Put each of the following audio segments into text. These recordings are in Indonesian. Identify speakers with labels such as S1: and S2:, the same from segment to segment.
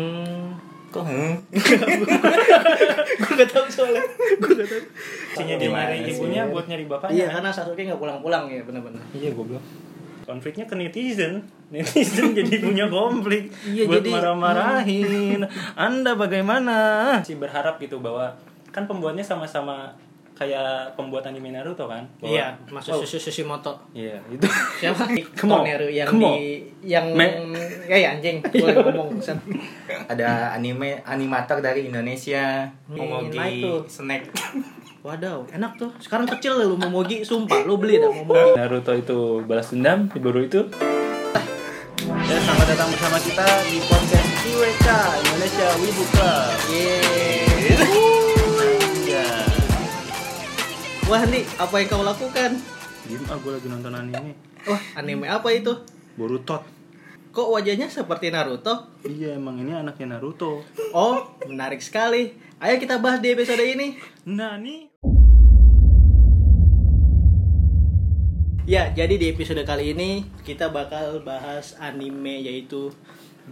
S1: Hmm, kok hmm?
S2: gue gak tau soalnya gue gak tau
S1: Isinya dia
S3: Gimana
S1: nyari
S3: sih?
S1: ibunya buat nyari bapaknya.
S2: iya karena Sasuke gak pulang-pulang ya bener-bener
S1: Iya goblok. Konfliknya ke netizen. Netizen jadi punya konflik
S2: Iya,
S1: buat
S2: jadi-
S1: marah-marahin. Anda Ya, bagaimana? Si berharap gitu bahwa kan pembuatnya sama-sama kayak pembuat anime Naruto kan? Bahwa-
S2: iya maksud
S1: Wow.
S2: Susu Sushimoto
S1: Iya, itu.
S2: siapa
S1: Kemo.
S2: Toneru yang
S1: Kemo.
S2: di yang
S1: Me- Iya.
S2: ya ya anjing boleh ngomong Sen.
S3: ada anime animator dari Indonesia
S2: Hmm,
S3: Momogi
S2: nah itu.
S3: snack
S2: Waduh, enak tuh. Sekarang kecil lu momogi, sumpah lu beli dah momogi.
S1: Naruto itu balas dendam, baru itu
S3: dan selamat datang bersama kita di podcast IWK Indonesia Wibu Club
S2: Yeay.
S3: ya
S2: Wah, nih apa yang kau lakukan?
S1: Diem ah gue lagi nonton anime
S2: Wah, anime apa itu?
S1: Boruto
S2: Kok wajahnya seperti Naruto?
S1: Iya emang ini anaknya Naruto
S2: Oh, menarik sekali. Ayo kita bahas di episode ini.
S1: Nani
S2: Ya, jadi di episode kali ini kita bakal bahas anime yaitu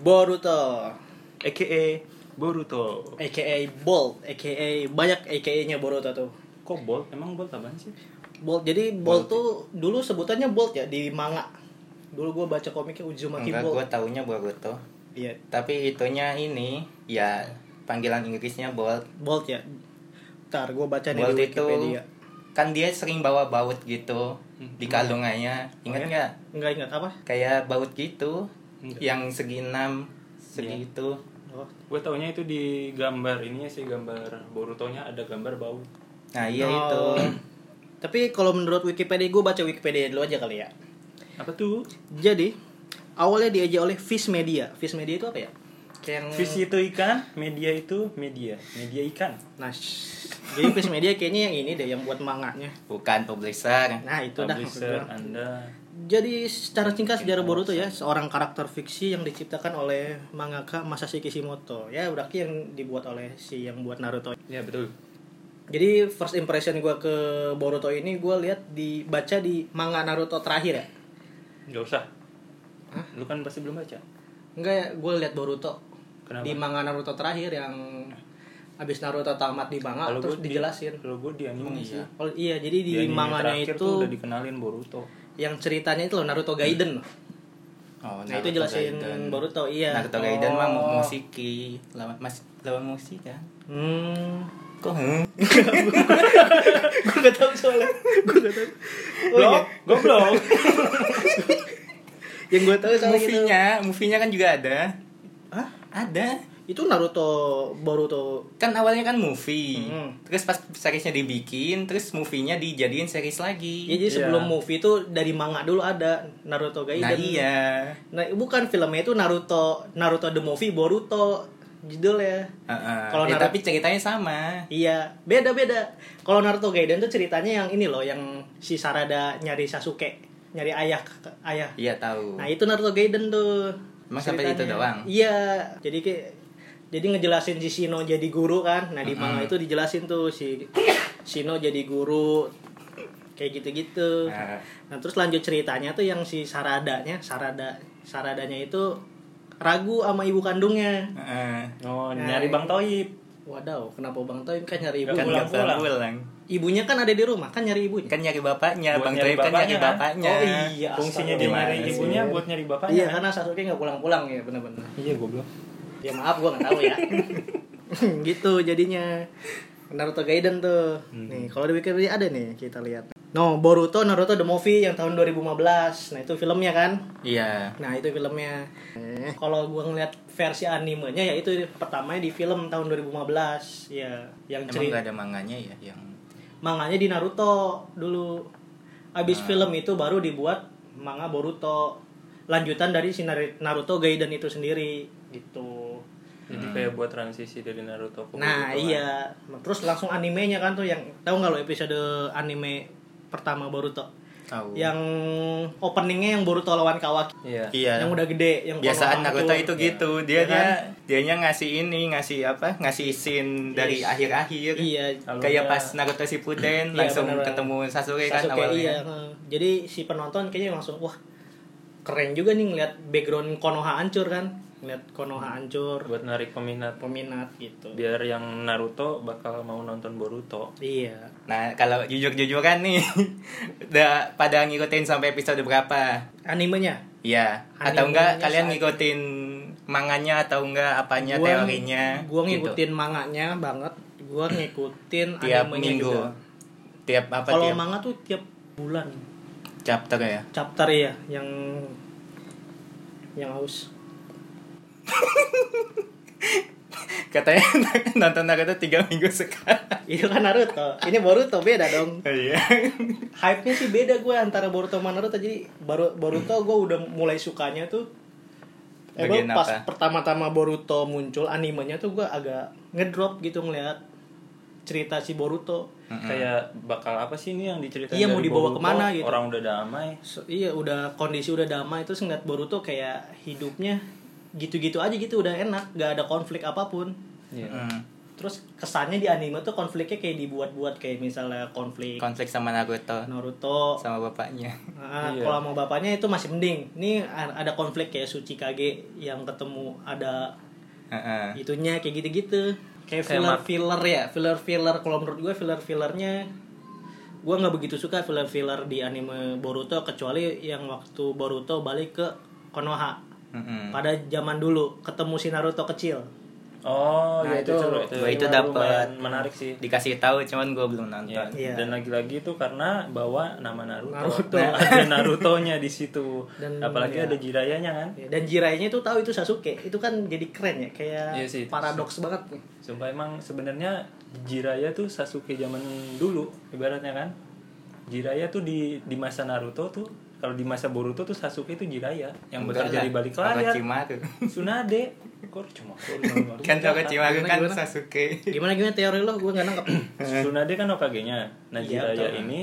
S2: Boruto,
S1: A.K.A. Boruto
S2: aka Bolt, aka banyak aka-nya Boruto tuh.
S1: Kok Bolt? Emang Bolt apaan sih?
S2: Bolt. Jadi Bolt, tuh dulu sebutannya Bolt ya di manga. Dulu gua baca komiknya Uzumaki
S3: enggak gue
S2: Bolt.
S3: taunya Boruto
S2: Iya,
S3: tapi itunya ini ya panggilan Inggrisnya Bolt
S2: Bolt ya. Ntar gua baca nih
S3: Bolt
S2: di
S3: itu
S2: Wikipedia. Hmm.
S3: kan dia sering bawa baut gitu di kalungannya
S2: Oh,
S3: ingat
S2: ya?
S3: nggak
S2: Enggak ingat apa?
S3: kayak baut gitu
S1: Enggak.
S3: yang segi enam
S1: Iya.
S3: segi itu
S2: Oh,
S1: Gue taunya itu di gambar ini sih gambar Borutonya ada gambar bau
S3: nah iya
S2: Oh.
S3: itu
S2: Tapi kalau menurut Wikipedia, gue baca Wikipedia dulu aja kali ya.
S1: Apa tuh?
S2: Jadi, awalnya diajak oleh Fish Media. Fish Media itu apa ya? Kayak yang...
S1: Fish itu ikan, media itu media Media ikan
S2: Nah, shh. jadi Fish Media kayaknya yang ini deh, yang buat manganya.
S3: bukan publisher
S2: Nah, itu dah.
S1: Publisher Anda
S2: Jadi, secara singkat sejarah Boruto ya, seorang karakter fiksi yang diciptakan oleh mangaka Masashi Kishimoto. Ya, berarti yang dibuat oleh si yang buat Naruto.
S1: Ya betul
S2: Jadi, first impression gue ke Boruto ini, gue lihat dibaca di manga Naruto terakhir ya.
S1: Gak usah Lu kan pasti belum baca
S2: Enggak ya, gue lihat Boruto
S1: Kenapa?
S2: di manga Naruto terakhir yang abis Naruto tamat di manga
S1: Kalau
S2: Ah, terus
S1: gua di-
S2: dijelasin.
S1: Kalau gue di anime sih
S2: Oh iya, jadi di,
S1: anime
S2: manganya
S1: terakhir
S2: itu
S1: tuh udah Iya. dikenalin Boruto
S2: yang ceritanya itu loh Naruto Gaiden. loh.
S3: Oh,
S2: Nah, itu jelasin Boruto, iya.
S3: Naruto Gaiden mah mu-
S1: Oh.
S3: musiki lawan mas lawan musik kan.
S2: Hmm.
S3: Kok hmm?
S2: gue gak tau soalnya. Gue gak tau. Oh, iya.
S1: Blok, goblok
S2: Yang gue tau soalnya gitu.
S3: Movie-nya, movie-nya kan juga ada.
S2: Hah?
S3: Ada.
S2: Itu Naruto Boruto.
S3: Kan awalnya kan movie.
S2: Hmm.
S3: Terus pas seriesnya dibikin, terus movie-nya dijadiin series
S2: Ya,
S3: lagi.
S2: jadi
S1: Iya.
S2: sebelum movie itu dari manga dulu ada Naruto Gaiden.
S3: nah, iya.
S2: Nah, bukan filmnya itu Naruto Naruto the movie Boruto judulnya.
S3: Heeh.
S2: Kalau
S3: Ya,
S2: Naruto-
S3: tapi ceritanya sama.
S2: Iya, beda-beda. Kalau Naruto Gaiden tuh ceritanya yang ini loh, yang si Sarada nyari Sasuke, nyari ayah ayah.
S3: Iya, tahu.
S2: Nah, itu Naruto Gaiden tuh.
S3: Emang sampai
S2: ceritanya.
S3: itu doang?
S2: Iya, jadi kayak jadi ngejelasin si Shino jadi guru kan. Nah, di manga itu dijelasin tuh si Shino jadi guru kayak gitu-gitu.
S3: Nah.
S2: Nah, terus lanjut ceritanya tuh yang si Saradanya, Sarada Saradanya itu ragu sama ibu kandungnya.
S3: Heeh.
S1: Oh,
S2: Nah,
S1: nyari Bang Toib
S2: Wadaw, kenapa Bang Toim kan nyari ibu?
S1: Gak
S3: Kan
S1: pulang-pulang.
S3: nggak pulang pulang.
S2: Ibunya kan ada di rumah, kan nyari ibunya.
S3: Kan nyari bapaknya,
S1: Buat
S3: Bang
S1: nyari
S3: Toib kan nyari
S1: bapaknya, kan?
S3: bapaknya.
S2: Oh, iya.
S1: Fungsinya dia
S3: Gimana
S1: nyari
S3: sih?
S1: ibunya buat nyari bapaknya
S2: iya, karena Sasuke nggak pulang-pulang ya bener-bener.
S1: Iya goblok
S2: Ya maaf, gua nggak tahu ya. gitu jadinya. Naruto Gaiden tuh. Nih, kalau di Wikipedia ada nih, kita lihat. No, Boruto Naruto The Movie yang tahun 2015. Nah, itu filmnya kan?
S3: Iya.
S2: Nah, itu filmnya. Eh, Kalau gua ngeliat versi animenya ya itu pertamanya di film tahun 2015. Ya, yang
S3: Emang
S2: cerita
S3: gak ada manganya ya yang
S2: manganya di Naruto dulu. Abis
S3: Nah.
S2: film itu baru dibuat manga Boruto. Lanjutan dari si Nar- Naruto Gaiden itu sendiri gitu.
S3: Oh,
S1: Jadi kayak buat transisi dari Naruto ke
S2: Nah,
S1: Boruto kan.
S2: iya. Terus langsung animenya kan tuh yang tahu nggak lo episode anime pertama Boruto?
S3: Tahu.
S2: Yang openingnya yang Boruto lawan Kawaki.
S1: Iya
S3: iya.
S2: Yang udah gede, yang konon
S3: biasaan Naruto
S2: hancur.
S3: itu gitu.
S2: Iya
S3: Dia
S2: kan?
S3: dianya ngasih ini, ngasih apa? Ngasih scene dari
S2: Yes.
S3: akhir-akhir.
S2: Iya.
S3: Kayak
S1: Alurnya-
S3: pas Naruto Shippuden
S2: Iya,
S3: langsung
S2: beneran.
S3: ketemu Sasuke, kan
S2: Sasuke,
S3: awalnya.
S2: iya. heeh. Jadi si penonton kayaknya langsung wah keren juga nih ngeliat background Konoha hancur kan. ngeliat
S3: Hmm.
S2: Konoha hancur
S1: buat narik peminat
S2: peminat gitu
S1: biar yang Naruto bakal mau nonton Boruto
S2: iya
S3: Nah, kalau jujur-jujuran nih, udah pada ngikutin sampai episode berapa?
S2: animenya
S3: Iya,
S2: Animenya
S3: atau enggak kalian
S2: saat-
S3: ngikutin manganya atau enggak apanya Iya, teorinya?
S2: gua
S3: gitu.
S2: ngikutin manganya banget gua ngikutin
S3: tiap
S2: animenya
S3: minggu.
S2: juga
S3: Tiap apa
S2: kalau
S3: tiap
S2: manga tuh tiap bulan
S3: chapter ya?
S2: chapter ya yang yang haus
S3: Katanya nonton Naruto tiga minggu sekali.
S2: itu kan Naruto ini Boruto beda dong
S3: Oh, Iya.
S2: hype-nya sih beda gue antara Boruto sama Naruto jadi baru Boruto gue udah mulai sukanya tuh Eh, gua
S3: Bagian
S2: pas
S3: apa?
S2: pertama-tama Boruto muncul animenya tuh gue agak ngedrop gitu ngeliat cerita si Boruto
S1: kayak bakal apa sih ini yang diceritain
S2: Iya,
S1: dari
S2: mau dibawa
S1: Boruto?
S2: kemana gitu.
S1: orang udah damai
S2: So, iya udah kondisi udah damai terus ngeliat Boruto kayak hidupnya gitu-gitu aja gitu udah enak gak ada konflik apapun
S1: Iya.
S3: Hmm,
S2: terus kesannya di anime tuh konfliknya kayak dibuat-buat kayak misalnya konflik
S3: Konflik sama Naruto
S2: Naruto
S3: sama bapaknya.
S2: Nah,
S1: Iya.
S2: kalau sama bapaknya itu masih mending. Ini a- ada konflik kayak Suci Kage yang ketemu ada
S3: Heeh.
S2: itunya kayak gitu-gitu. Kayak
S1: Kayak
S2: filler
S1: mat-
S2: filler ya, filler filler. Kalau menurut gue filler fillernya gue nggak begitu suka filler filler di anime Boruto kecuali yang waktu Boruto balik ke Konoha
S1: Hmm.
S3: Heeh.
S2: pada zaman dulu ketemu si Naruto kecil.
S1: oh
S2: Nah,
S1: ya itu
S2: itu-
S1: seru,
S3: gua itu
S1: lumayan
S3: dapat.
S1: menarik sih
S3: Dikasih tahu cuman gue belum nonton.
S1: Iya.
S2: Iya.
S1: Dan lagi-lagi itu karena bawa nama Naruto.
S2: Naruto.
S1: Nah, ada Narutonya di situ.
S2: Dan-
S1: Apalagi
S2: iya.
S1: ada Jirayanya kan.
S2: Ya, Dan Jiraiya itu tahu itu Sasuke, itu kan jadi keren ya, kayak
S1: Iya sih, itu
S2: paradoks banget.
S1: Sumpah emang sebenarnya Jiraya tuh Sasuke zaman dulu ibaratnya kan. Jiraya tuh di di masa Naruto tuh kalau di masa Boruto tuh Sasuke itu Jiraya yang
S3: Enggak
S1: bekerja
S3: lah,
S1: di balik layar.
S3: Orochimaru.
S1: Tsunade. Kok cuma
S3: Kan Orochimaru
S2: Gimana,
S3: kan
S2: gimana?
S3: Sasuke.
S2: Gimana gimana teori lo? Gue nggak nangkep.
S1: Tsunade kan Hokage-nya. Nah,
S2: Iya,
S1: Jiraiya
S2: betul.
S1: ini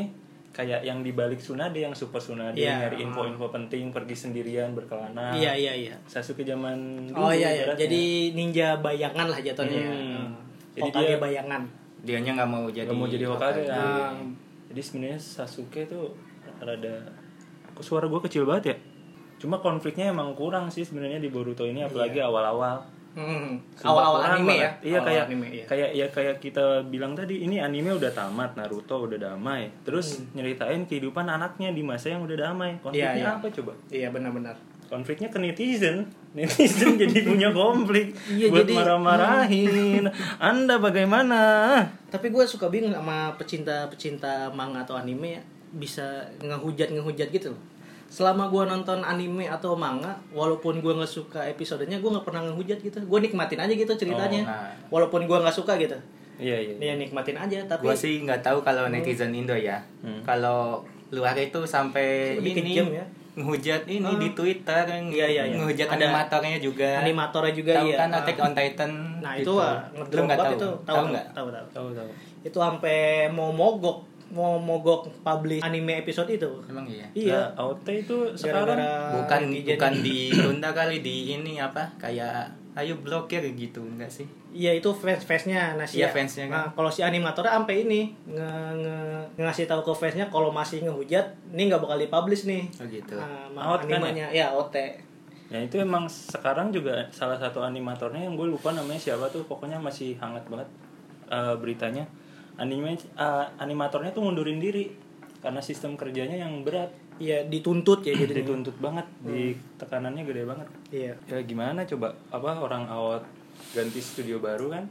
S1: kayak yang dibalik Tsunade yang super Tsunade
S2: Iya.
S1: nyari info-info penting, pergi sendirian berkelana.
S2: Iya iya iya.
S1: Sasuke zaman dulu.
S3: gitu
S2: Oh iya, iya.
S1: ibaratnya.
S2: jadi ninja bayangan lah jatuhnya.
S1: Hmm.
S2: Jadi
S1: Jadi
S2: Hokage
S1: dia-
S2: bayangan.
S3: Dianya nggak mau jadi
S1: Nggak mau jadi Hokage. kan.
S2: Ah.
S1: Jadi sebenarnya Sasuke tuh rada kok suara gua kecil banget ya? Cuma konfliknya emang kurang sih sebenarnya di Boruto ini apalagi awal-awal.
S2: Hmm. Iya.
S1: Sumpah
S2: Awal-awal
S1: kurang
S2: anime ya.
S1: banget. Iya
S2: Awal-awal
S1: kayak
S2: anime, iya.
S1: kayak ya kayak kita bilang tadi ini anime udah tamat Naruto udah damai. Terus
S2: Hmm.
S1: nyeritain kehidupan anaknya di masa yang udah damai.
S2: Iya,
S1: Konfliknya
S2: iya.
S1: apa coba?
S2: Iya benar-benar.
S1: Konfliknya ke netizen. Netizen jadi punya konflik
S2: Iya,
S1: buat
S2: jadi-
S1: marah-marahin. Anda bagaimana?
S2: Tapi gue suka bingung sama pecinta-pecinta manga atau anime ya, bisa ngehujat-ngehujat gitu loh. Selama gue nonton anime atau manga, walaupun gue nggak suka episodenya, gue nggak pernah ngehujat gitu. Gue nikmatin aja gitu ceritanya,
S3: Oh, nah.
S2: walaupun gue nggak suka gitu.
S1: Iya iya.
S2: Ya nikmatin aja, tapi
S3: Gua sih nggak tahu kalau netizen Indo ya.
S2: Hmm.
S3: Kalau luar itu sampai
S2: Lebih
S3: ini
S2: kejam ya.
S3: ngehujat ini di Twitter, ng-
S2: Iya, iya, iya.
S3: ngehujat
S2: Ada
S3: animatornya juga.
S2: animatornya juga
S3: tahu
S2: iya.
S3: kan
S2: Ah.
S3: Attack on Titan?
S2: Nah
S3: gitu.
S2: itu wah
S3: Lu
S2: ngedrop
S3: nggak
S2: banget
S3: tahu?
S2: itu
S3: Tahu nggak?
S2: Tahu tahu.
S1: Tahu tahu.
S2: Itu sampai mau mogok mau mogok publish anime episode itu.
S3: Emang iya.
S2: Iya.
S1: Nah, AOT itu sekarang
S2: Gara-gara
S3: Bukan
S2: netizen.
S3: bukan ditunda kali di ini apa kayak ayo blokir gitu enggak sih?
S2: Iya itu fans fansnya nah si
S3: Iya, fansnya kan.
S2: Nah, kalau si animatornya sampai ini nge, nge- ngasih tahu ke fansnya kalau masih ngehujat ini nggak bakal dipublish nih.
S3: Oh gitu.
S2: Nah,
S1: Out kan
S2: animenya ya OT.
S1: ya itu emang sekarang juga salah satu animatornya yang gue lupa namanya siapa tuh pokoknya masih hangat banget eh, beritanya anime eh, animatornya tuh mundurin diri karena sistem kerjanya yang berat
S2: Iya Hmm. dituntut ya jadi.
S1: dituntut banget di tekanannya gede banget
S2: Iya.
S1: ya gimana coba apa orang awal ganti studio baru kan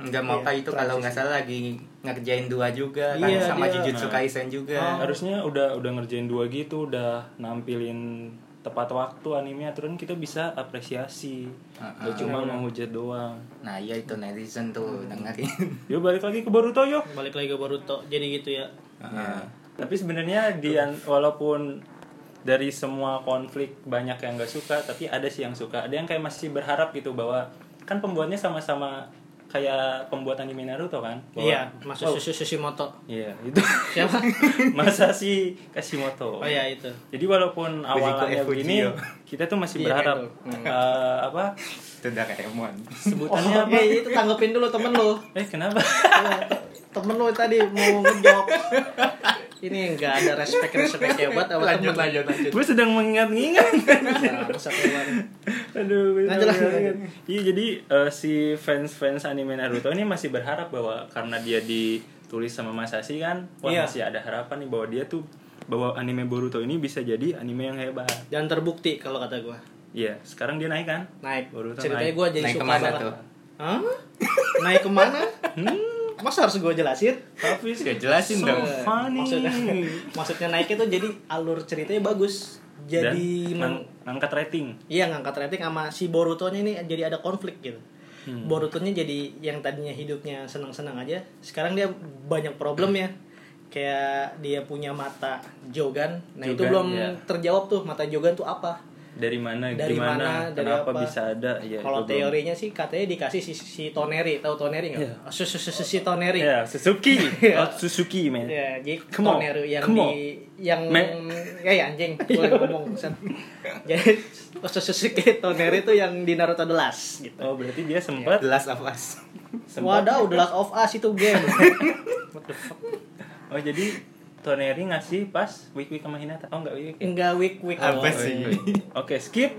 S3: Enggak mau apa itu kalau nggak salah lagi ngerjain dua juga kan
S2: Iya,
S3: sama
S2: dia.
S3: Jujutsu Kaisen
S2: Oh.
S3: juga.
S1: harusnya udah udah ngerjain dua gitu udah nampilin tepat waktu animenya terus kita bisa apresiasi
S2: Ah,
S1: gak cuma
S2: Iya,
S1: menghujat doang
S3: Nah, iya itu netizen tuh
S2: Hmm.
S3: dengerin.
S1: yuk balik lagi ke Boruto yuk
S2: Balik lagi ke Boruto jadi gitu ya.
S3: Iya.
S1: Tapi sebenarnya dia walaupun dari semua konflik banyak yang nggak suka, tapi ada sih yang suka. Ada yang kayak masih berharap gitu bahwa kan pembuatnya sama-sama kayak pembuat anime Naruto kan? Bahwa-
S2: Iya,
S3: Oh.
S2: masuk susu Sushimoto.
S1: Iya, itu
S2: Siapa?
S1: Masashi Kashimoto.
S2: Oh ya itu.
S1: Jadi walaupun awalnya
S3: Fujio.
S1: begini, kita tuh masih
S2: Iya,
S1: berharap
S2: kayak
S1: eh, apa
S3: Itu Doraemon.
S1: sebutannya
S2: Oh,
S1: apa?
S2: eh, itu tanggepin dulu Iya, temen lu.
S1: Eh kenapa?
S2: temen lu tadi mau ngejok ini nggak ada respect respect ya buat Nah, awal
S3: lanjut lanjut lanjut
S1: gue sedang mengingat-ingat Aduh, gue
S2: Lanjut,
S1: sampai
S2: lanjut,
S1: ingat. Iya, jadi eh, si fans-fans anime Naruto ini masih berharap bahwa karena dia ditulis sama Masashi kan, wah
S2: Iya.
S1: masih ada harapan nih bahwa dia tuh bahwa anime Boruto ini bisa jadi anime yang hebat.
S2: dan terbukti kalau kata gue
S1: Iya, sekarang dia naik kan?
S2: naik
S1: Boruto
S2: ceritanya
S1: naik.
S2: gue jadi
S3: Naik
S2: suka
S3: kemana
S2: banget
S3: tuh?
S2: Hah? naik kemana
S1: Hmm,
S2: masa harus gue jelasin
S1: tapi
S3: Ya, jelasin
S1: so
S3: dong.
S1: funny.
S2: maksudnya maksudnya naik itu jadi alur ceritanya bagus
S1: Dan
S2: jadi meng-
S1: ngang- ngangkat rating.
S2: Iya ngangkat rating sama si Boruto-nya ini jadi ada konflik gitu.
S1: Hmm.
S2: Boruto-nya jadi yang tadinya hidupnya senang-senang aja, sekarang dia banyak problem ya. Kayak dia punya mata Jogan. Nah, itu
S1: Jogan,
S2: belum
S1: ya.
S2: terjawab tuh mata Jogan tuh apa.
S1: Dari mana,
S2: Dari mana,
S1: gimana,
S2: dari
S1: kenapa
S2: apa.
S1: bisa ada? Ya,
S2: Kalau
S1: itu belum.
S2: teorinya sih katanya dikasih si, si Toneri, tahu Toneri
S1: Iya.
S2: enggak? Si, si, si, si- si Toneri.
S1: Ya, Suzuki.
S2: Iya.
S1: Oh, Suzuki, man.
S2: Ya, jadi
S1: Come on,
S2: Toneri yang
S1: come on.
S2: di yang
S1: Me-
S2: ya, ya, anjing, gue ngomong. Sen. Jadi Osususuke Toneri tuh yang di Naruto The Last gitu.
S1: Oh, berarti dia sempat
S3: The Last of Us.
S1: sempat
S2: Wadaw, The Last of Us itu game. What the fuck?
S1: Oh jadi Toneri ngasih pas week week sama Hinata. Oh enggak week week.
S2: Enggak week week.
S3: Apa
S2: Oh,
S3: sih?
S2: iya.
S1: Oke skip.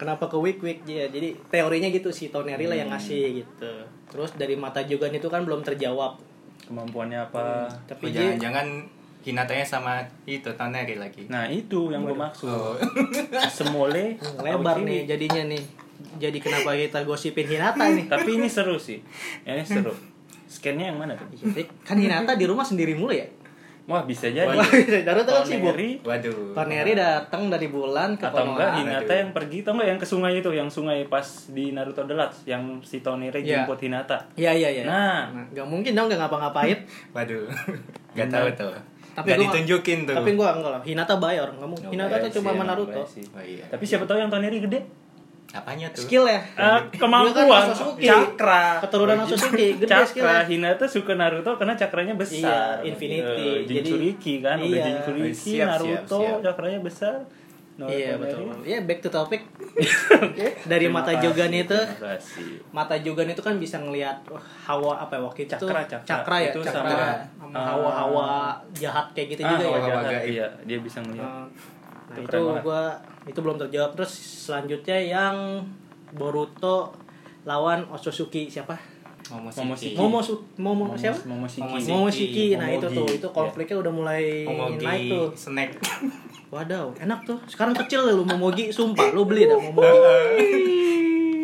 S2: Kenapa ke week week ya? Jadi teorinya gitu si Toneri lah yang
S1: Hmm.
S2: ngasih gitu. Terus dari mata Jogan itu kan belum terjawab.
S1: Kemampuannya apa?
S2: Tapi
S3: Oh,
S1: Iya,
S2: dia
S3: Jangan-jangan Hinatanya sama itu Toneri lagi.
S1: Nah itu yang gue
S3: Oh.
S1: maksud. Semole
S2: lebar
S1: Aokiwi.
S2: nih jadinya nih. Jadi kenapa kita gosipin Hinata nih?
S1: Tapi ini seru sih. Ini seru. Scannya yang mana tuh?
S2: Jadi, kan Hinata di rumah sendiri mulu ya.
S1: Wah bisa jadi.
S2: Wah, Naruto kan sibuk.
S1: Toneri
S3: Waduh.
S2: Toneri datang dari bulan ke
S1: atau
S2: Konoha.
S1: enggak Hinata yang pergi atau enggak yang ke sungai itu yang sungai pas di Naruto The Last yang si Toneri
S3: Iya.
S1: jemput Hinata.
S2: Iya iya iya.
S1: Nah.
S2: nggak mungkin dong nggak ngapa-ngapain.
S3: Waduh. Gak tahu tuh.
S2: Nah. Tapi
S3: Gak
S2: gua-
S3: ditunjukin tuh.
S2: Tapi gua enggak lah. Hinata bayar. Nggak mungkin.
S3: Oh,
S2: Hinata
S3: bayar
S2: tuh cuma
S3: sih,
S2: sama
S3: emang
S2: Naruto.
S1: Bayar sih.
S3: Oh, iya.
S1: Tapi siapa tahu yang Toneri gede?
S3: Apanya tuh?
S2: skill ya
S1: Eh,
S2: Dia
S1: kemampuan,
S2: kan Sasuke.
S1: cakra,
S2: keturunan Otsutsuki gede ya.
S1: cakra
S2: skillnya
S1: Hinata suka Naruto karena cakranya besar
S2: Iya, infinity.
S1: Eh, Jinchuriki kan udah
S2: Iya.
S1: Jinchuriki
S3: Siap, siap,
S1: Naruto
S3: siap.
S1: cakranya besar Naruto
S2: iya
S1: dari-
S2: betul ya back to topic
S1: Oke.
S2: dari
S1: Terima
S2: mata
S1: kasih,
S2: Jogan itu
S1: terima kasih.
S2: mata Jogan itu kan bisa ngelihat wah, hawa apa ya waktu itu
S1: Cakra, cakra.
S2: ya
S1: Itu
S2: cakra
S1: sama- eh,
S2: sama hawa-hawa jahat kayak gitu
S1: ah,
S2: juga ya
S1: hawa
S3: Hawa
S1: jahat,
S3: gaib.
S1: iya dia bisa ngeliat
S2: nah
S1: Itu
S2: itu,
S1: keren banget.
S2: gua itu belum terjawab terus selanjutnya yang Boruto lawan Otsutsuki siapa
S1: Momoshiki.
S3: Momoshiki.
S2: Momo Momo
S1: Momos-
S2: siapa
S1: Momoshiki.
S3: Momoshiki.
S2: Momoshiki, nah itu
S1: Momogi.
S2: tuh itu konfliknya udah mulai naik
S3: Momogi.
S2: tuh
S3: Snack.
S2: Wadaw, enak tuh. Sekarang kecil lu momogi, sumpah lu beli dah momogi.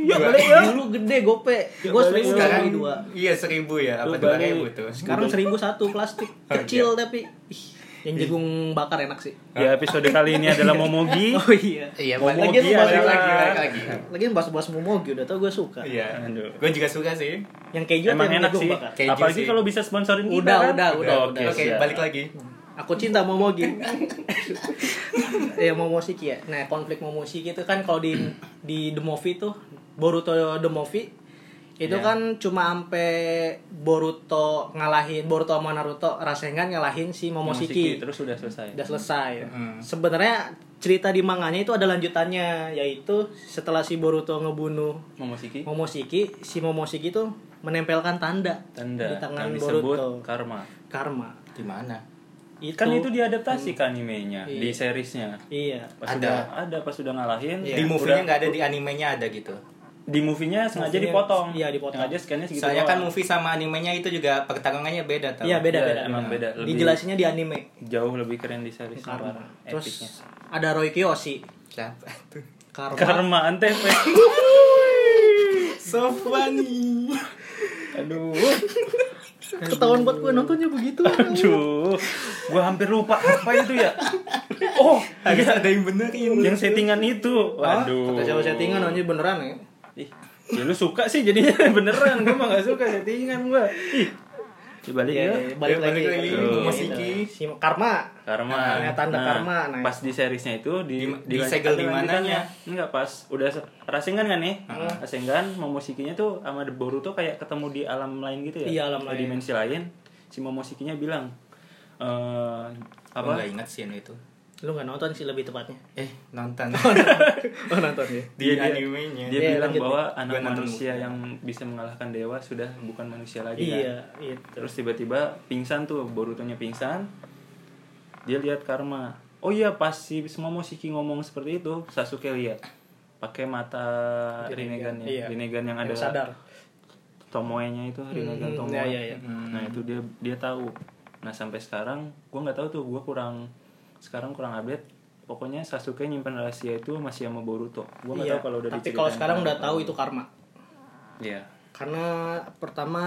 S3: Yuk,
S2: Dulu-
S3: beli, yuk.
S2: Dulu gede gope. Gua seribu
S1: beli, yuk.
S2: kali
S3: Sekarang
S2: dua.
S3: iya seribu ya,
S1: Lu
S3: apa dua
S1: balik.
S3: ribu tuh?
S2: Sekarang seribu satu plastik.
S3: Oh,
S2: Kecil tapi ih, yang jagung bakar enak sih.
S1: ya episode kali ini adalah Momogi
S2: Oh iya.
S3: Iya,
S1: Momogi
S3: balik lagi, balik
S1: adalah-
S3: lagi, balik lagi.
S2: Lagi bahas-bahas momogi udah tau gue suka.
S3: Iya,
S1: Aduh.
S3: gue juga suka sih.
S2: Yang keju atau
S1: emang
S2: yang
S1: enak
S2: jagung
S1: sih
S2: bakar?
S3: Keju
S1: apalagi
S3: sih.
S1: kalau bisa sponsorin kita
S2: Udah, udah,
S1: kan?
S2: udah,
S1: oke
S2: udah.
S3: Oke,
S1: siap.
S3: balik lagi.
S2: Aku cinta momogi. ya momoshiki ya. Nah, konflik momoshiki itu kan kalau di di The Movie tuh Boruto The Movie itu
S1: Iya.
S2: kan cuma sampai Boruto ngalahin Boruto sama Naruto Rasengan ngalahin si Momoshiki.
S1: terus udah selesai
S2: Udah selesai.
S3: Hmm.
S2: Sebenarnya cerita di manganya itu ada lanjutannya yaitu setelah si Boruto ngebunuh
S1: Momoshiki
S2: Momoshiki, si Momoshiki itu menempelkan tanda,
S1: tanda
S2: di tangan
S1: yang disebut
S2: Boruto
S1: karma
S2: karma.
S3: Gimana?
S2: Itu,
S1: kan itu diadaptasi ke animenya di
S2: Iya.
S1: seriesnya
S2: iya.
S1: pas
S3: Ada.
S1: sudah ada pas sudah ngalahin
S3: Di movie-nya nggak ada, di animenya ada gitu.
S1: di movie-nya sengaja
S2: Movie-nya-
S1: dipotong
S2: iya, dipotong.
S1: sengaja scan-nya segitu
S3: Soalnya
S1: Gitu
S3: kan
S1: doang.
S3: movie sama animenya itu juga pertarungannya beda tau.
S2: Iya beda
S1: Iya,
S2: beda.
S1: emang beda. Lebih-
S2: Dijelasinnya di anime.
S1: jauh lebih keren di series
S2: Karma.
S1: karma
S2: Terus
S1: epicnya
S2: ada Roy Kiyoshi.
S3: Siapa tuh?
S2: Karma.
S1: karma antv
S3: So funny.
S1: aduh
S2: Ketahuan buat gue nontonnya begitu.
S1: aduh gua hampir lupa apa itu ya oh
S3: Harus ada yang benerin.
S1: yang settingan itu waduh
S2: Kata siapa settingan anjir beneran ya.
S1: Ih, ya lu suka sih jadinya beneran gua mah gak suka settingan gua Ih. dibalik
S2: Iya,
S1: ya
S2: iya, balik,
S3: Ya, balik
S2: lagi.
S3: lagi,
S2: Gitu.
S3: Momoshiki.
S2: Si karma.
S1: karma
S2: Nah, tanda karma, nah.
S1: pas di seriesnya itu di
S3: Di- disegel di
S1: lanjutannya.
S3: mananya?
S1: enggak pas udah se- rasengan kan nih rasengan momosikinya tuh sama The Boruto kayak ketemu di alam lain gitu ya
S2: Iya, alam
S1: Di
S2: lain.
S1: dimensi lain si momosikinya bilang eh apa
S3: Apa? Gak ingat sih yang itu.
S2: Lu nggak nonton sih lebih tepatnya.
S3: Eh, nonton.
S2: Oh nonton ya.
S3: di animenya.
S1: dia
S2: Iya,
S1: bilang
S2: lanjut,
S1: bahwa anak
S3: Gua nonton
S1: manusia
S3: movie.
S1: yang bisa mengalahkan dewa sudah bukan manusia lagi kan?
S2: Iya, itu.
S1: terus tiba-tiba pingsan tuh Borutonya pingsan dia lihat karma oh iya pas si Momoshiki ngomong seperti itu Sasuke lihat pakai mata Rinnegan ya
S2: Iya.
S1: Rinnegan yang ada
S2: Yang sadar.
S1: Tomoe-nya itu Rinnegan
S2: Hmm,
S1: Tomoe
S2: iya, iya, iya.
S1: nah itu dia dia tahu nah sampai sekarang gue nggak tahu tuh gue kurang sekarang kurang update pokoknya Sasuke nyimpen rahasia itu masih sama Boruto gue nggak
S2: Iya,
S1: tahu kalau udah
S2: Tapi
S1: diceritain
S2: kalau sekarang
S1: kenapa.
S2: udah tahu itu karma.
S1: iya
S2: Karena pertama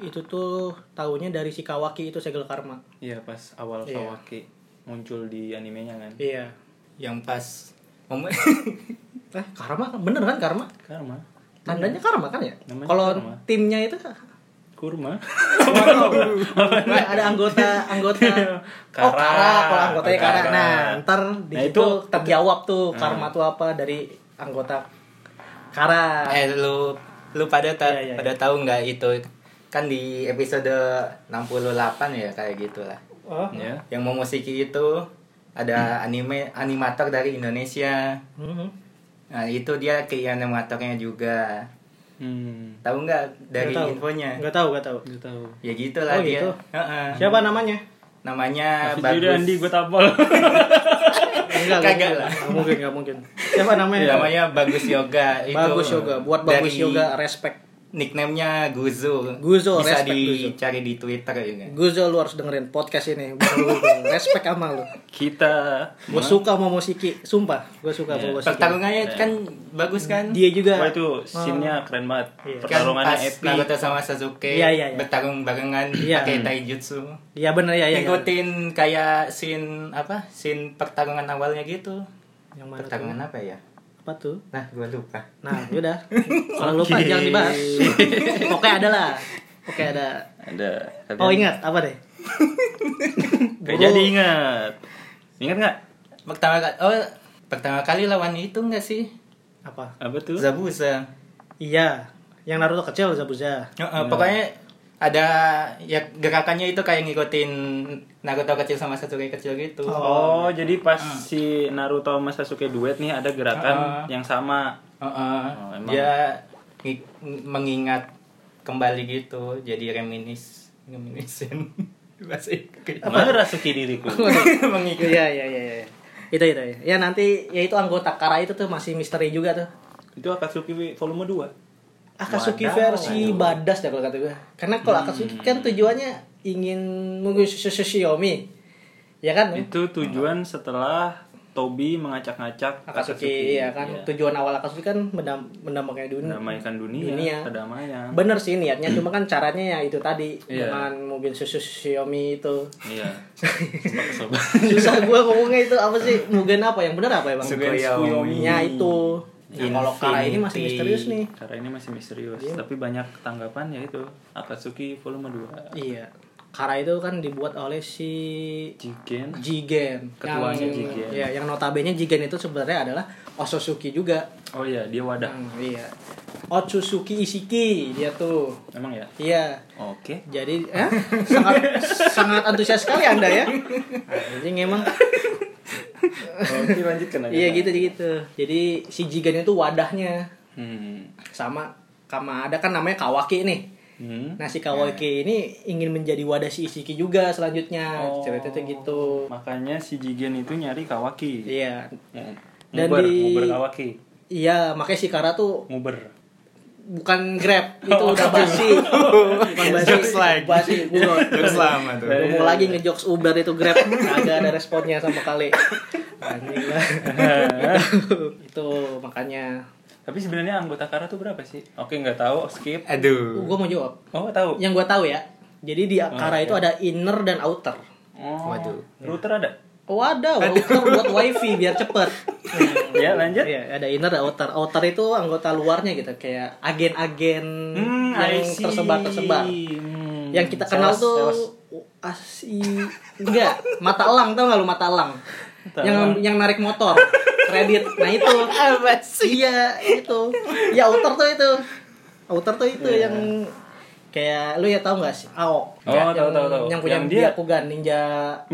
S2: itu tuh tahunya dari si Kawaki itu segel karma.
S1: iya pas awal
S2: Iya.
S1: Kawaki muncul di animenya kan
S2: Iya.
S3: yang pas momen
S2: Eh, karma bener kan karma?
S1: karma
S2: Tandanya karma kan ya?
S1: Namanya
S2: Kalau
S1: karma.
S2: timnya itu
S1: kurma
S2: Nggak, ada anggota anggota
S1: Iya. Kara.
S2: oh kara kalau anggotanya
S1: Kara.
S2: kara nah ntar di
S1: Nah,
S2: situ
S1: itu- Nah.
S2: terjawab tuh karma tuh apa dari anggota kara
S3: eh lu lu pada ta-
S2: Iya, iya,
S3: pada tahu nggak itu kan di episode 68 ya kayak gitulah
S2: oh.
S1: ya
S3: yang mau musiki itu ada anime animator dari Indonesia
S2: Mhm.
S3: nah itu dia ke animatornya juga
S1: hmm
S3: tahu nggak dari
S2: Nggak tahu.
S3: infonya
S2: Eh, nggak tahu nggak tahu
S1: udah tahu
S3: ya gitulah
S2: Oh,
S3: dia
S2: gitu.
S3: Heeh.
S2: siapa namanya
S3: namanya
S1: Tapi
S3: bagus
S1: jujur Andi gue tapal
S2: enggak nggak
S3: Kagak
S2: mungkin.
S3: lah.
S2: Nggak mungkin nggak mungkin siapa namanya
S3: namanya bagus yoga itu
S2: bagus yoga buat bagus
S3: dari
S2: yoga respect
S3: nicknamenya Guzo
S2: Guzo,
S3: bisa
S2: respect
S3: dicari di Twitter juga
S2: Guzo lu harus dengerin podcast ini Bukan lu, gua respect sama lu
S1: kita
S2: gue suka sama musiki sumpah gue suka sama musiki
S3: pertarungannya kan bagus kan
S2: dia juga
S1: Wah itu scene-nya keren banget.
S2: Iya.
S1: Pertarungannya
S3: kan pas
S1: epic.
S3: Naruto sama Sasuke
S2: Iya, iya, iya.
S3: bertarung barengan
S2: Iya.
S3: pakai taijutsu
S2: Iya bener ya, ya, ya.
S3: ngikutin kayak scene apa scene pertarungan awalnya gitu
S2: yang mana tuh?
S3: pertarungan apa ya
S2: apa tuh
S3: nah gua lupa
S2: Nah, yaudah. Kalau lupa jangan dibahas. Oke, ada lah. Oke, ada.
S1: Ada. tapi-
S2: Oh, ingat apa deh?
S1: Gak
S2: Bro.
S1: jadi ingat. Ingat nggak?
S3: pertama kali oh pertama kali lawan itu enggak sih
S2: Apa?
S1: Apa tuh?
S3: Zabuza
S2: Iya, yang Naruto kecil Zabuza.
S3: Heeh, pokoknya ada ya gerakannya itu kayak ngikutin Naruto kecil sama Sasuke kecil gitu
S1: Oh, jadi pas si Naruto sama Sasuke duet nih ada gerakan
S3: Ah.
S1: yang sama.
S3: Heeh.
S1: Oh, emang.
S3: dia ngi- mengingat kembali gitu jadi reminis reminiscent bahasa Inggris
S1: Merasuki diriku.
S3: mengingat
S2: Iya, iya, iya, iya. Itu itu ya. Ya nanti ya itu anggota Kara itu tuh masih misteri juga tuh.
S1: itu Akatsuki volume 2.
S2: Akatsuki
S1: Wadaw, Hmm.
S2: versi badas dah kalau kata gue. Karena kalau Akatsuki kan tujuannya ingin Shiomi Ya kan?
S1: Itu tujuan setelah Tobi mengacak-ngacak
S2: Akatsuki, iya kan.
S1: Iya.
S2: Tujuan awal Akatsuki kan mendam mendamaikan dunia.
S1: Mendamaikan dunia,
S2: Dunia.
S1: kedamaian.
S2: Bener sih niatnya, cuma kan caranya ya itu tadi
S1: Iya.
S2: dengan mobil susu Xiaomi itu.
S1: Iya. Sumpah kesel banget.
S2: Susah gua ngomongnya itu apa sih? Mugen apa yang bener apa ya bang?
S3: Mugen
S1: Tsukuyomi.
S2: Ya itu. Nah, kalau Kara ini masih
S3: Infinity.
S2: misterius nih.
S1: Karena ini masih misterius,
S2: Iya.
S1: tapi banyak tanggapan yaitu Akatsuki volume 2.
S2: Iya. Kara itu kan dibuat oleh si
S1: Jigen
S2: Jigen.
S1: Ketuanya
S2: yang,
S1: Jigen.
S2: Iya, yang notabene Jigen itu sebenarnya adalah Osotsuki juga.
S1: Oh iya, dia wadah.
S2: Hmm, iya. Otsutsuki Ishiki dia tuh.
S1: Emang ya?
S2: Iya.
S1: Oke.
S2: Jadi eh, sangat sangat antusias sekali Anda ya. Anjing emang
S1: Oh, Oke, lanjutkan
S2: Iya gitu gitu. Jadi si Jigan itu wadahnya
S1: Hmm.
S2: sama sama ada kan namanya Kawaki nih.
S1: Hmm.
S2: Nah si
S3: Iya.
S2: Kawaki ini ingin menjadi wadah si Ishiki juga selanjutnya.
S1: Oh.
S2: Ceritanya tuh gitu.
S1: Makanya si Jigen itu nyari Kawaki.
S2: Iya.
S1: Ya.
S2: Dan
S1: Nguber,
S2: di-
S1: nguber Kawaki.
S2: Iya, makanya si Kara tuh
S1: Nguber.
S2: bukan Grab, itu udah basi. bukan basi.
S3: Oh. Jokes like.
S2: Basi buron.
S3: terus lama tuh
S2: Gua mau lagi ngejokes Uber itu Grab agak ada responnya sama kali. Anjing lah. itu makanya
S1: Tapi sebenarnya anggota Kara tuh berapa sih? Oke, nggak tahu, skip.
S3: aduh
S2: gue mau jawab.
S1: Oh, nggak tahu.
S2: yang gue tahu ya jadi di
S3: Ah,
S2: Akara itu
S3: iya.
S2: ada inner dan outer
S1: Oh.
S3: Waduh.
S1: Router ada?
S2: wadah outer buat wifi biar cepet
S1: ya, lanjut.
S2: Iya, ada inner dan outer outer itu anggota luarnya gitu kayak agen-agen
S1: Hmm, I
S2: yang
S1: see.
S2: tersebar tersebar
S1: Hmm.
S2: yang kita kenal
S3: Sales,
S2: tuh
S3: sales.
S2: asi enggak mata elang tau gak lu mata elang
S1: Mata
S2: yang
S1: elang.
S2: yang narik motor kredit nah itu iya itu ya outer tuh itu outer tuh itu yang kayak lu ya tau gak sih Ao
S1: Iya. Oh,
S2: yang,
S1: tahu, tahu, tahu.
S2: yang punya
S1: Yang dia-
S2: dia Byakugan ninja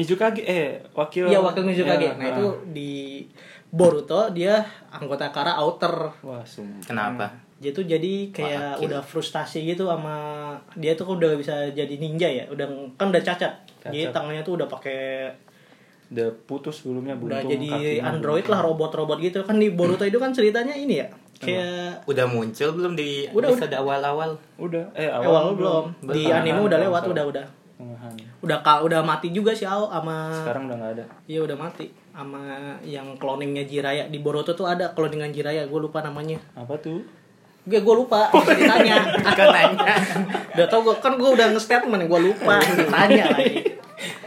S1: Mizukage eh wakil
S2: iya wakil Mizukage
S1: Ya,
S2: nah
S1: ah.
S2: itu di Boruto dia anggota Kara outer
S1: Wah, sumpah.
S3: kenapa
S2: dia tuh jadi kayak udah frustasi gitu sama dia tuh udah nggak bisa jadi ninja ya udah kan udah cacat, jadi tangannya tuh udah pakai
S1: udah putus sebelumnya
S2: udah
S1: buntung
S2: jadi
S1: kakinya
S2: android lah robot-robot gitu kan di Boruto itu kan ceritanya ini ya kayak
S1: Hmm.
S3: Udah muncul belum di
S2: Udah,
S3: episode awal-awal?
S1: udah eh awal,
S2: awal belum di
S3: Belum.
S2: anime udah lewat udah udah
S1: Tengahan.
S2: udah ka, udah mati juga sih Ao sama
S1: sekarang udah nggak ada
S2: Iya udah mati sama yang cloningnya Jiraya di Boruto tuh ada cloningan Jiraya gue lupa namanya
S1: apa tuh
S2: gue gue lupa
S1: Oh, iya.
S2: harus ditanya
S3: Kan nanya.
S2: udah tau gue kan gue udah nge-statement gue lupa tanya lagi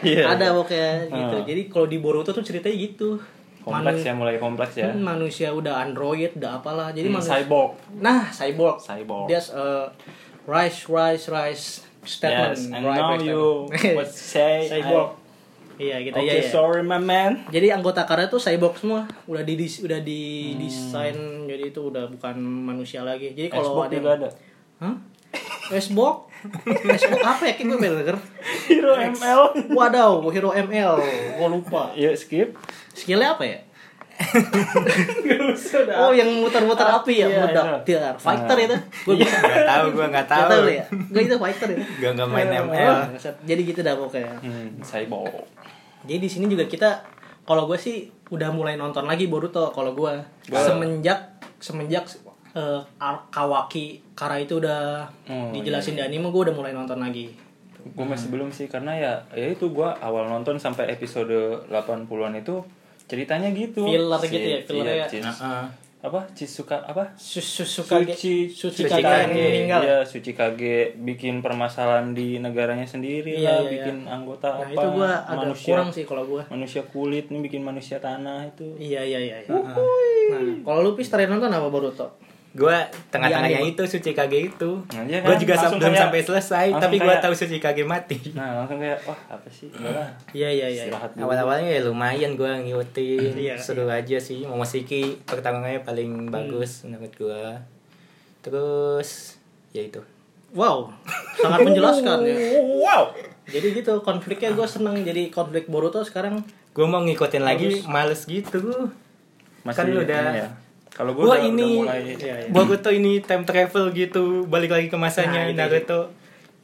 S1: Iya. Ah.
S2: ada pokoknya gitu jadi kalau di Boruto tuh ceritanya gitu
S1: kompleks ya mulai kompleks ya
S2: Hmm, manusia udah android udah apalah jadi
S1: Hmm,
S2: manusia
S1: cyborg
S2: nah cyborg
S1: cyborg
S2: there's a rise rise rise statement
S1: yes and
S2: rise,
S1: now
S2: rise
S1: you
S2: statement.
S1: what say
S2: cyborg
S1: I-
S2: iya gitu
S1: okay
S2: iya, iya.
S1: sorry my man
S2: jadi anggota karya tuh cyborg semua udah di udah
S1: Hmm.
S2: di desain jadi itu udah bukan manusia lagi jadi kalau
S1: Xbox
S2: ada yang-
S1: juga ada
S2: Hah? Facebook? Facebook apa ya? Kayak gue bener
S1: Hero ML
S2: Wadaw, Hero ML. Gue lupa.
S1: yuk skip
S2: Skillnya apa ya? oh yang muter-muter api ya,
S1: Iya,
S2: mudah.
S1: iya.
S2: Tiar, fighter itu. Gue bisa.
S3: Gak tahu gue gak
S2: Gak
S3: Iya, tahu.
S2: tahu ya. Gue itu fighter ya.
S3: Gak gak main ML.
S2: Oh, jadi gitu dah pokoknya.
S1: hmm, cyborg
S2: Jadi di sini juga kita, kalau gue sih udah mulai nonton lagi Boruto. Kalau gue semenjak semenjak eh, Ar- Kawaki Kara itu udah
S1: Oh,
S2: dijelasin
S3: iya,
S2: di anime, gue udah mulai nonton lagi.
S1: gue masih
S2: Hmm.
S1: belum sih karena ya ya itu gue awal nonton sampai episode 80-an itu ceritanya gitu
S2: Filler gitu ya, fillernya ya.
S1: iya, Cis-
S3: Heeh.
S1: apa Chisuka apa
S2: Susuka
S1: Suci
S2: Suci
S3: Suci
S2: kakak yang
S3: Kage.
S2: meninggal.
S1: Iya, Suci Kage bikin permasalahan di negaranya sendiri
S2: Iya,
S1: lah,
S2: iya, iya.
S1: bikin
S2: Nah,
S1: anggota apa
S2: itu gua agak
S1: manusia
S2: kurang sih kalau gua.
S1: manusia kulit nih bikin manusia tanah itu.
S2: Iya iya iya. iya. Nah, kalau lu pis terakhir nonton apa Boruto?
S3: Gue
S2: Di
S3: tengah-tengahnya
S2: anime.
S3: itu Suci Kage itu.
S1: Nah, iya kan?
S3: Gue juga sam-
S1: Langsung
S3: belum
S1: kayak-
S3: sampai selesai,
S1: langsung
S3: tapi gue
S1: kayak-
S3: tahu Suci Kage mati.
S1: Nah, langsung kayak wah, apa sih? Enggak lah.
S2: Iya iya iya. iya.
S1: Istirahat dulu.
S3: Awal-awalnya ya lumayan gue ngikutin,
S2: Iya.
S3: seru aja sih. Momoshiki pertamanya paling bagus menurut gue. Terus ya itu.
S2: Wow, sangat menjelaskan ya.
S1: Wow.
S2: Jadi gitu konfliknya gua seneng jadi konflik Boruto sekarang
S3: Gue mau ngikutin lagi, males gitu.
S1: Masih
S3: Kan lu udah-
S1: ini ya. Kalau gue
S3: Wah
S1: udah,
S3: ini
S1: udah mulai
S2: Iya, iya.
S3: Boruto ini time travel gitu, balik lagi ke masanya
S2: Nah, itu
S3: Naruto.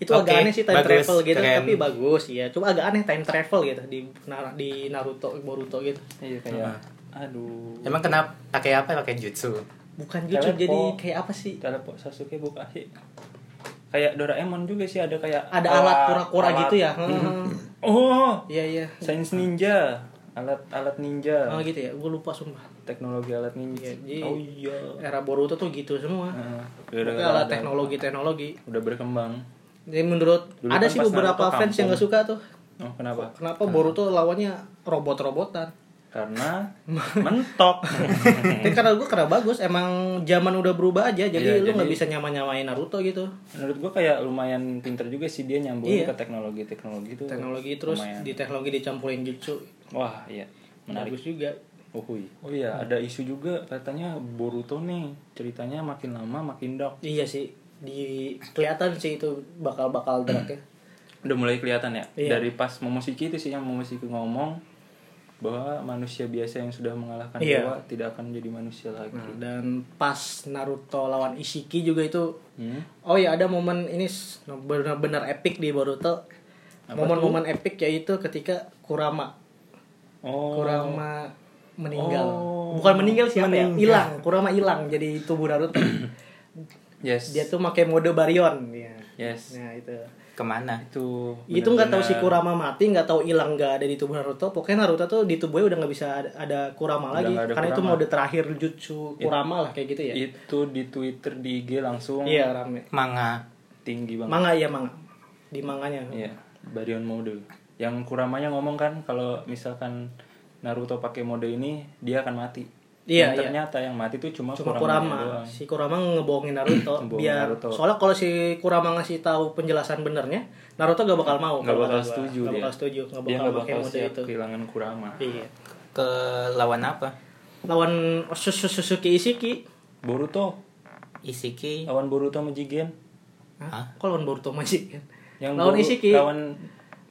S2: itu
S3: Oke,
S2: agak aneh sih time
S3: bagus,
S2: travel gitu
S3: keren.
S2: tapi bagus ya. Cuma agak aneh time travel gitu di Nar- di Naruto Boruto gitu.
S1: Iya kayak aduh.
S3: Emang kenapa pakai apa? Pakai jutsu.
S2: Bukan jujur
S1: Telepon.
S2: jadi kayak apa sih?
S1: Telepon Sasuke buka sih. Kayak Doraemon juga sih ada kayak
S2: Ada alat kura-kura
S1: Ah, alat-
S2: gitu ya. Heeh.
S1: Oh,
S2: Iya iya.
S1: Sains Ninja. Alat-alat ninja.
S2: Oh gitu ya, gue lupa sumpah.
S1: teknologi alat ninja.
S2: Iya, jadi-
S1: oh iya.
S2: Era Boruto tuh gitu semua.
S1: Heeh.
S2: Tapi
S1: Gara-gara
S2: ala
S1: ada-
S2: teknologi-teknologi.
S1: udah berkembang.
S2: Jadi menurut
S1: Dulu
S2: ada
S1: kan
S2: sih
S1: pas
S2: beberapa
S1: Naruto
S2: fans yang gak
S1: kampung.
S2: suka tuh.
S1: Oh, kenapa?
S2: Kenapa Boruto lawannya robot-robotan?
S1: Karena mentok.
S2: Tapi karena gue karena bagus, emang zaman udah berubah aja, jadi
S1: Hmm. Iya,
S2: lu
S1: jadi-
S2: nggak bisa nyaman-nyamain Naruto gitu.
S1: Menurut gua kayak lumayan pinter juga sih dia
S2: Iya.
S1: nyambungin ke teknologi-teknologi itu.
S2: Teknologi terus
S1: lumayan.
S2: di teknologi dicampurin jutsu,
S1: Wah, iya. Menarik.
S2: bagus juga.
S1: Uhuy. Oh iya, ada isu juga katanya Boruto nih ceritanya makin lama makin dark.
S2: Iya sih, di kelihatan sih itu bakal-bakal
S1: Hmm.
S2: drag ya.
S1: Udah mulai kelihatan ya
S2: Iya.
S1: dari pas Momoshiki itu sih yang Momoshiki ngomong bahwa manusia biasa yang sudah mengalahkan
S2: Iya.
S1: dewa tidak akan jadi manusia lagi.
S2: Dan pas Naruto lawan Ishiki juga itu
S1: Hmm?
S2: Oh ya ada momen ini s- benar-benar epic di Boruto. Momen-momen epic yaitu ketika Kurama
S1: Oh.
S2: Kurama meninggal.
S1: Oh.
S2: Bukan meninggal siapa ya? Hilang. Kurama hilang jadi tubuh Naruto.
S1: Yes.
S2: Dia tuh pakai mode Baryon ya.
S1: Yes.
S2: Nah itu.
S3: Kemana?
S1: Itu
S2: Itu nggak tahu si
S1: benar-benar
S2: Kurama mati, nggak tahu hilang nggak ada di tubuh Naruto. Pokoknya Naruto tuh di tubuhnya udah nggak bisa ada, ada Kurama
S1: Udah
S2: lagi.
S1: nggak ada
S2: Karena itu
S1: Kurama.
S2: mode terakhir jutsu Kurama lah kayak gitu ya.
S1: Itu di Twitter di IG langsung
S2: Iya rame.
S3: Manga.
S1: tinggi banget.
S2: Manga ya manga. Di manganya.
S1: Iya, Baryon mode. Yang Kuramanya ngomong kan kalau misalkan Naruto pakai mode ini dia akan mati.
S2: Iya, iya.
S1: Dan ternyata yang mati itu cuma,
S2: cuma
S1: Kuramanya
S2: Kurama,
S1: doang.
S2: si Kurama ngebohongin Naruto
S1: Ngebohongin
S2: biar
S1: Naruto.
S2: soalnya kalau si Kurama ngasih tahu penjelasan benernya Naruto gak bakal mau
S1: Nggak
S2: kalau
S1: bakal
S2: kata gua.
S1: setuju
S2: Nggak
S1: dia.
S2: bakal setuju nggak
S1: Dia
S2: bakal
S1: nggak
S2: pakai
S1: bakal
S2: mode
S1: siap
S2: itu
S1: kehilangan Kurama.
S2: iya
S3: Ke lawan apa?
S2: lawan Sus- Suzuki Isiki
S1: Boruto
S3: Isiki.
S1: lawan Boruto sama Jigen.
S3: Hah?
S2: kok lawan Boruto masih kan
S1: Yang
S2: lawan
S1: Boru-
S2: Isiki
S1: Lawan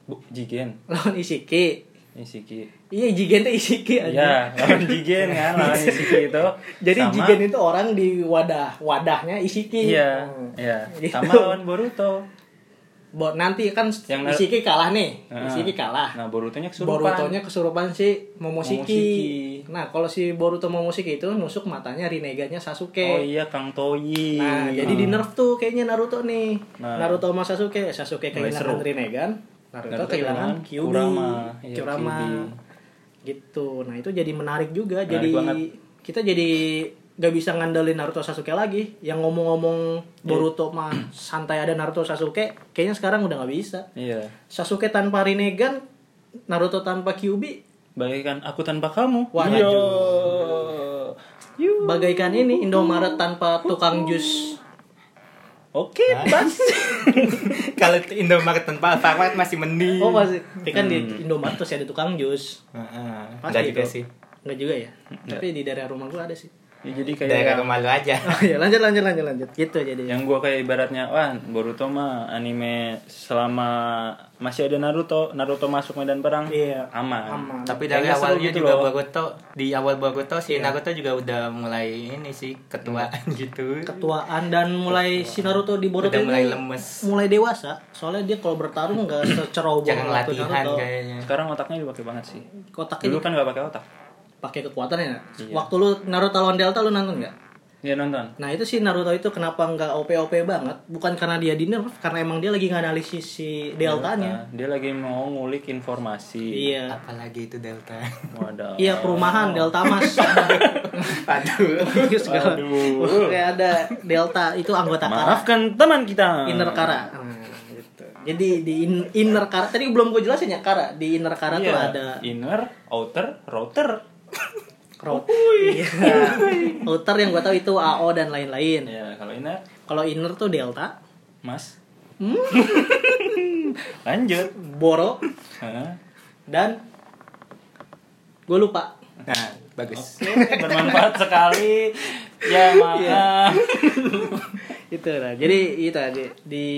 S1: Bu- Jigen.
S2: lawan Isiki
S1: Isiki.
S2: iya Jigen Iya. tuh Isiki aja
S1: Iya, lawan Jigen kan, lawan Isiki itu.
S2: jadi
S1: sama,
S2: Jigen itu orang di wadah wadahnya Isiki
S1: Iya, iya.
S2: Gitu.
S1: Sama lawan Boruto.
S2: Bo- nanti kan
S1: Yang nar-
S2: Ishiki kalah nih.
S1: Heeh.
S2: Ishiki kalah.
S1: Nah, Borutonya kesurupan.
S2: Borutonya kesurupan si Momoshiki.
S1: Momoshiki.
S2: Nah, kalau si Boruto Momoshiki itu nusuk matanya Rinnegan-nya Sasuke.
S1: Oh iya, Kang Toyi.
S2: Nah,
S1: Hmm.
S2: jadi di nerf tuh kayaknya Naruto nih.
S1: Nah.
S2: Naruto sama Sasuke, Eh, Sasuke
S1: Mulai
S2: kehilangan
S1: seru.
S2: Rinnegan, Naruto,
S1: Naruto
S2: kehilangan
S1: kehilangan
S2: Kyuubi,
S1: Kurama. Iya,
S2: Kurama. Gitu. Nah, itu jadi menarik juga.
S1: Menarik
S2: jadi
S1: banget.
S2: kita jadi gak bisa ngandelin Naruto Sasuke lagi. Yang ngomong-ngomong
S1: Iya.
S2: Boruto mah santai ada Naruto Sasuke, kayaknya sekarang udah nggak bisa.
S1: Iya.
S2: Sasuke tanpa Rinnegan, Naruto tanpa Kyuubi,
S1: Bagaikan aku tanpa kamu. Iya.
S2: Wah,
S1: Yo. Yuh.
S2: bagaikan ini Indomaret tanpa tukang jus.
S1: Oke,
S2: Nah.
S1: pas.
S3: Kalau Indomaret tanpa Alfamart masih mending.
S2: Oh, pasti. Tapi kan di
S3: Hmm.
S2: Indomaret tuh sih ada tukang jus.
S3: Heeh.
S2: Pasti
S3: Ada juga
S2: itu.
S3: sih.
S2: Enggak juga ya.
S3: Hmm.
S2: Tapi di daerah rumah gua ada sih.
S1: Ya, jadi kayak
S3: Daerah rumah lu aja.
S2: Oh iya, lanjut lanjut lanjut lanjut. Gitu jadi.
S1: yang gua kayak ibaratnya wah Boruto mah anime selama masih ada Naruto Naruto masuk medan perang
S2: Iya.
S1: aman
S2: Aman.
S3: Tapi dari
S1: Kayaknya seru
S3: awalnya
S1: gitu
S3: juga
S1: loh.
S3: Boruto, di awal Boruto si Naruto juga udah mulai ini sih ketuaan gitu.
S2: Ketuaan dan mulai si Naruto di Boruto
S3: Udah
S2: ini
S3: mulai lemes.
S2: mulai dewasa. Soalnya dia kalau bertarung enggak seceroboh
S3: Jangan
S2: waktu
S3: latihan
S2: Naruto.
S3: kayaknya.
S1: sekarang otaknya dipakai banget sih
S2: Kotaknya
S1: dulu kan nggak pakai otak
S2: pakai kekuatan ya.
S3: Iya.
S2: Waktu lu Naruto lawan Delta lu nonton enggak?
S1: dia Iya, nonton
S2: Nah itu si Naruto itu kenapa nggak OP-OP banget Bukan karena dia di nerf Karena emang dia lagi nganalisis si Deltanya
S1: Nah, dia lagi mau ngulik informasi
S2: ya? Iya
S3: Apalagi itu Delta.
S1: wadah
S2: Iya perumahan Delta Mas
S3: Aduh.
S2: segala. Wah, Kayak ada Delta itu anggota Kara
S1: maafkan teman kita
S2: Inner Kara Nah, gitu. Jadi di in- inner Kara Tadi belum gue jelasin ya Kara Di inner Kara
S1: Iya,
S2: tuh ada
S1: inner outer router
S2: crowd Iya Outer yang gue tahu itu AO dan lain-lain
S1: ya kalau inner
S2: Kalau inner tuh Delta
S1: mas
S2: Hmm?
S1: lanjut
S2: Boro
S1: Hah?
S2: Dan Gue lupa
S3: Nah, bagus.
S1: Oke, bermanfaat sekali ya
S2: Iya.
S1: maaf Gitu,
S2: itu lah jadi itu di, di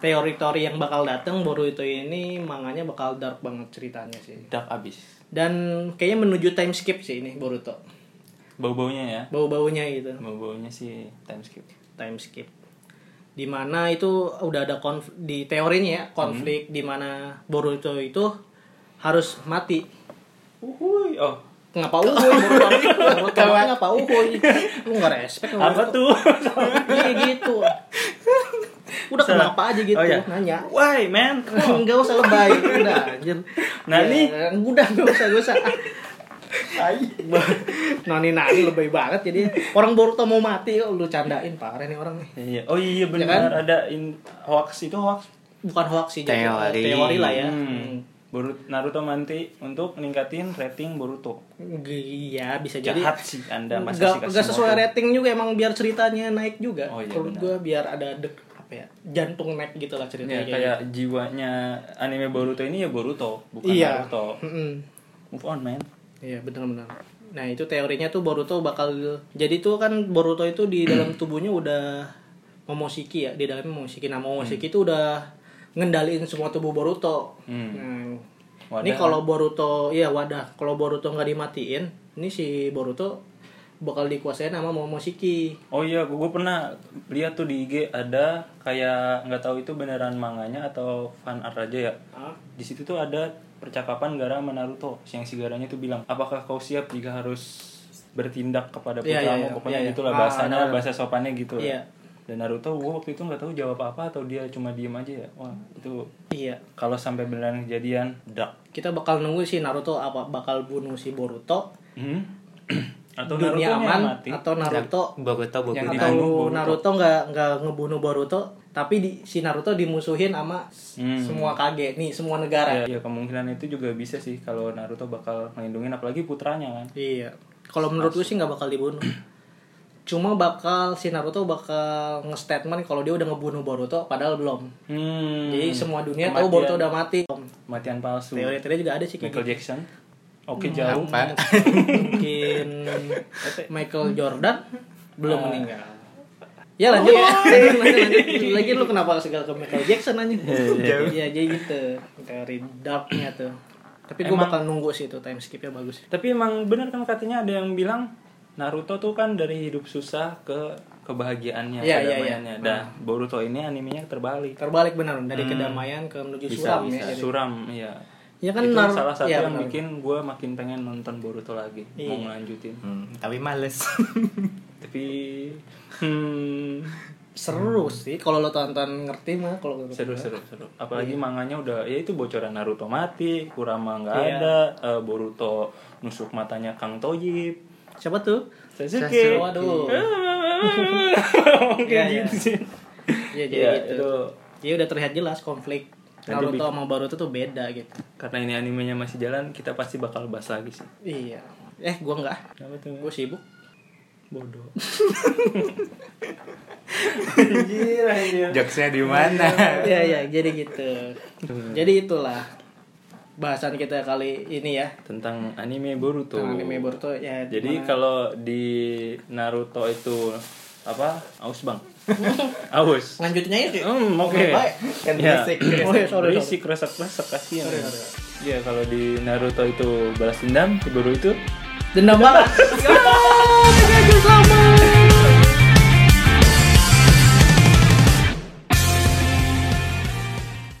S2: teori-teori yang bakal datang Boruto ini manganya bakal dark banget ceritanya sih
S1: dark abis
S2: dan kayaknya menuju time skip sih ini Boruto
S1: bau-baunya ya
S2: bau-baunya gitu
S1: bau-baunya sih time skip
S2: time skip dimana itu udah ada konf- di teorinya ya konflik
S1: Hmm.
S2: dimana Boruto itu harus mati
S1: uhuy oh
S2: ngapa uhuy Boruto mati ngapa uhuy lu nggak respect sama
S1: apa
S2: Boruto.
S1: tuh
S2: iya gitu udah
S1: Salah.
S2: kenapa aja gitu
S1: Oh, iya.
S2: nanya
S1: why man
S2: Enggak usah lebay, udah anjir.
S1: Nani?
S2: Ya, udah enggak usah, enggak usah. nani nani lebay banget jadi orang Boruto mau mati kok lu candain parah nih orang nih.
S1: Iya. oh iya
S2: kan?
S1: benar ada in hoax itu hoax
S2: Bukan hoax sih jadi
S3: Teori.
S2: teori lah ya.
S1: hmm. Boru- Naruto manti untuk ningkatin rating Boruto
S2: G- Iya, bisa jadi.
S1: jahat sih anda mas
S2: Enggak enggak sesuai rating juga emang biar ceritanya naik juga.
S1: Oh, iya,
S2: Menurut
S1: benar.
S2: gua biar ada dek apa ya? Jantung naik gitu lah
S1: ya,
S2: ceritanya. kayak
S1: kayak jiwanya anime Boruto ini ya Boruto bukan
S2: gitu. iya.
S1: Naruto
S2: Mm-mm.
S1: move on man
S2: Iya benar-benar. Nah itu teorinya tuh Boruto bakal jadi tuh kan Boruto itu di dalam tubuhnya udah Momoshiki ya di dalam Momoshiki. Nah Momoshiki itu udah ngendaliin semua tubuh Boruto. Nah,
S1: Hmm. Wadah. kan?
S2: ini kalau Boruto ya wadah kalau Boruto nggak dimatiin ini si Boruto bakal dikuasain sama Momoshiki.
S1: Oh iya, gue pernah lihat tuh di IG ada kayak nggak tahu itu beneran manganya atau fan art aja ya. Di situ tuh ada percakapan Gara sama Naruto. Yang si Garanya tuh bilang, "Apakah kau siap jika harus bertindak kepada
S2: Iya,
S1: putramu?"
S2: iya, iya.
S1: Pokoknya
S2: Iya, iya.
S1: itulah
S2: Ah,
S1: bahasanya,
S2: ada.
S1: bahasa sopannya gitu. lah.
S2: Iya.
S1: Dan Naruto gue waktu itu nggak tahu jawab apa atau dia cuma diem aja ya. Wah, itu
S2: Iya.
S1: kalau sampai beneran kejadian, dak.
S2: Kita bakal nunggu si Naruto apa bakal bunuh si Boruto.
S1: Hmm? atau Naruto
S2: dunia aman
S1: mati.
S2: atau Naruto
S3: Boruto
S1: Yang
S3: Boruto.
S1: dibunuh
S2: atau
S1: Boruto.
S2: Naruto nggak nggak ngebunuh Boruto tapi di, si Naruto dimusuhin sama s-
S1: Hmm.
S2: semua kage nih semua negara
S1: Ya, ya, kemungkinan itu juga bisa sih kalau Naruto bakal melindungi apalagi putranya kan.
S2: iya kalau menurut gue sih nggak bakal dibunuh cuma bakal si Naruto bakal nge-statement kalau dia udah ngebunuh Boruto padahal belum
S1: Hmm.
S2: jadi semua dunia tahu
S1: Kematian. Hmm.
S2: Boruto udah mati
S1: Kematian palsu.
S2: teori-teori juga ada sih kayak gitu.
S1: Michael
S2: Hmm.
S1: Jackson. Oke jauh.
S3: Apa?
S2: mungkin Michael Jordan belum
S1: Ah.
S2: meninggal ya
S1: Oh,
S2: lanjut
S1: iya.
S2: lanjut, lanjut. lagi lu kenapa segala ke Michael Jackson aja
S1: Jauh.
S2: iya jadi gitu dari darknya tuh tapi gue
S1: Emang-
S2: bakal nunggu sih itu time skipnya bagus
S1: Tapi emang bener kan katanya ada yang bilang Naruto tuh kan dari hidup susah ke kebahagiaannya,
S2: Iya, iya,
S1: kedamaiannya. Dah, Boruto ini animenya terbalik.
S2: Terbalik benar dari
S1: Hmm.
S2: kedamaian ke menuju suram
S1: bisa.
S2: ya. jadi.
S1: Suram, iya.
S2: Ya kan
S1: itu
S2: Nar-
S1: salah satu
S2: iya, benar.
S1: yang
S2: Iya.
S1: bikin gue makin pengen nonton Boruto lagi, mau ngelanjutin.
S3: Hmm, tapi males.
S1: Tapi hmm,
S2: seru sih kalau lo tonton ngerti mah kalau
S1: seru seru seru.
S2: Iya.
S1: Apalagi manganya udah ya itu bocoran Naruto mati, Kurama nggak
S2: Iya.
S1: ada, eh, Boruto nusuk matanya Kang Toyib.
S2: siapa tuh?
S1: Sasuke.
S2: Waduh.
S1: Kayak
S2: Iya,
S1: gitu sih.
S2: Iya jadi
S1: Iya,
S2: gitu.
S1: itu
S2: Ya udah terlihat jelas konflik
S1: Nanti
S2: Naruto sama Boruto tuh beda gitu.
S1: karena ini animenya masih jalan, kita pasti bakal bahas lagi sih.
S2: Iya. Eh, gua enggak.
S1: Apa tuh?
S2: Gua sibuk.
S1: Bodoh.
S2: Anjir, anjir.
S3: Jokesnya di mana?
S2: Iya, iya, jadi gitu. Jadi itulah bahasan kita kali ini ya.
S1: Tentang anime Boruto.
S2: Tentang anime Boruto ya. dimana-
S1: Jadi kalau di Naruto itu apa? Aus bang. Aus.
S2: lanjutnya ya sih.
S1: Hmm, oke.
S2: Baik.
S3: Kan
S1: Ya.
S3: berisik.
S2: Oh, ya, sorry, sorry.
S1: Berisik, resak-resak, kasihan. Iya, kalau di Naruto itu balas dendam, di Boruto itu
S2: Dendam balas. Ya, Kak Agus, selamat.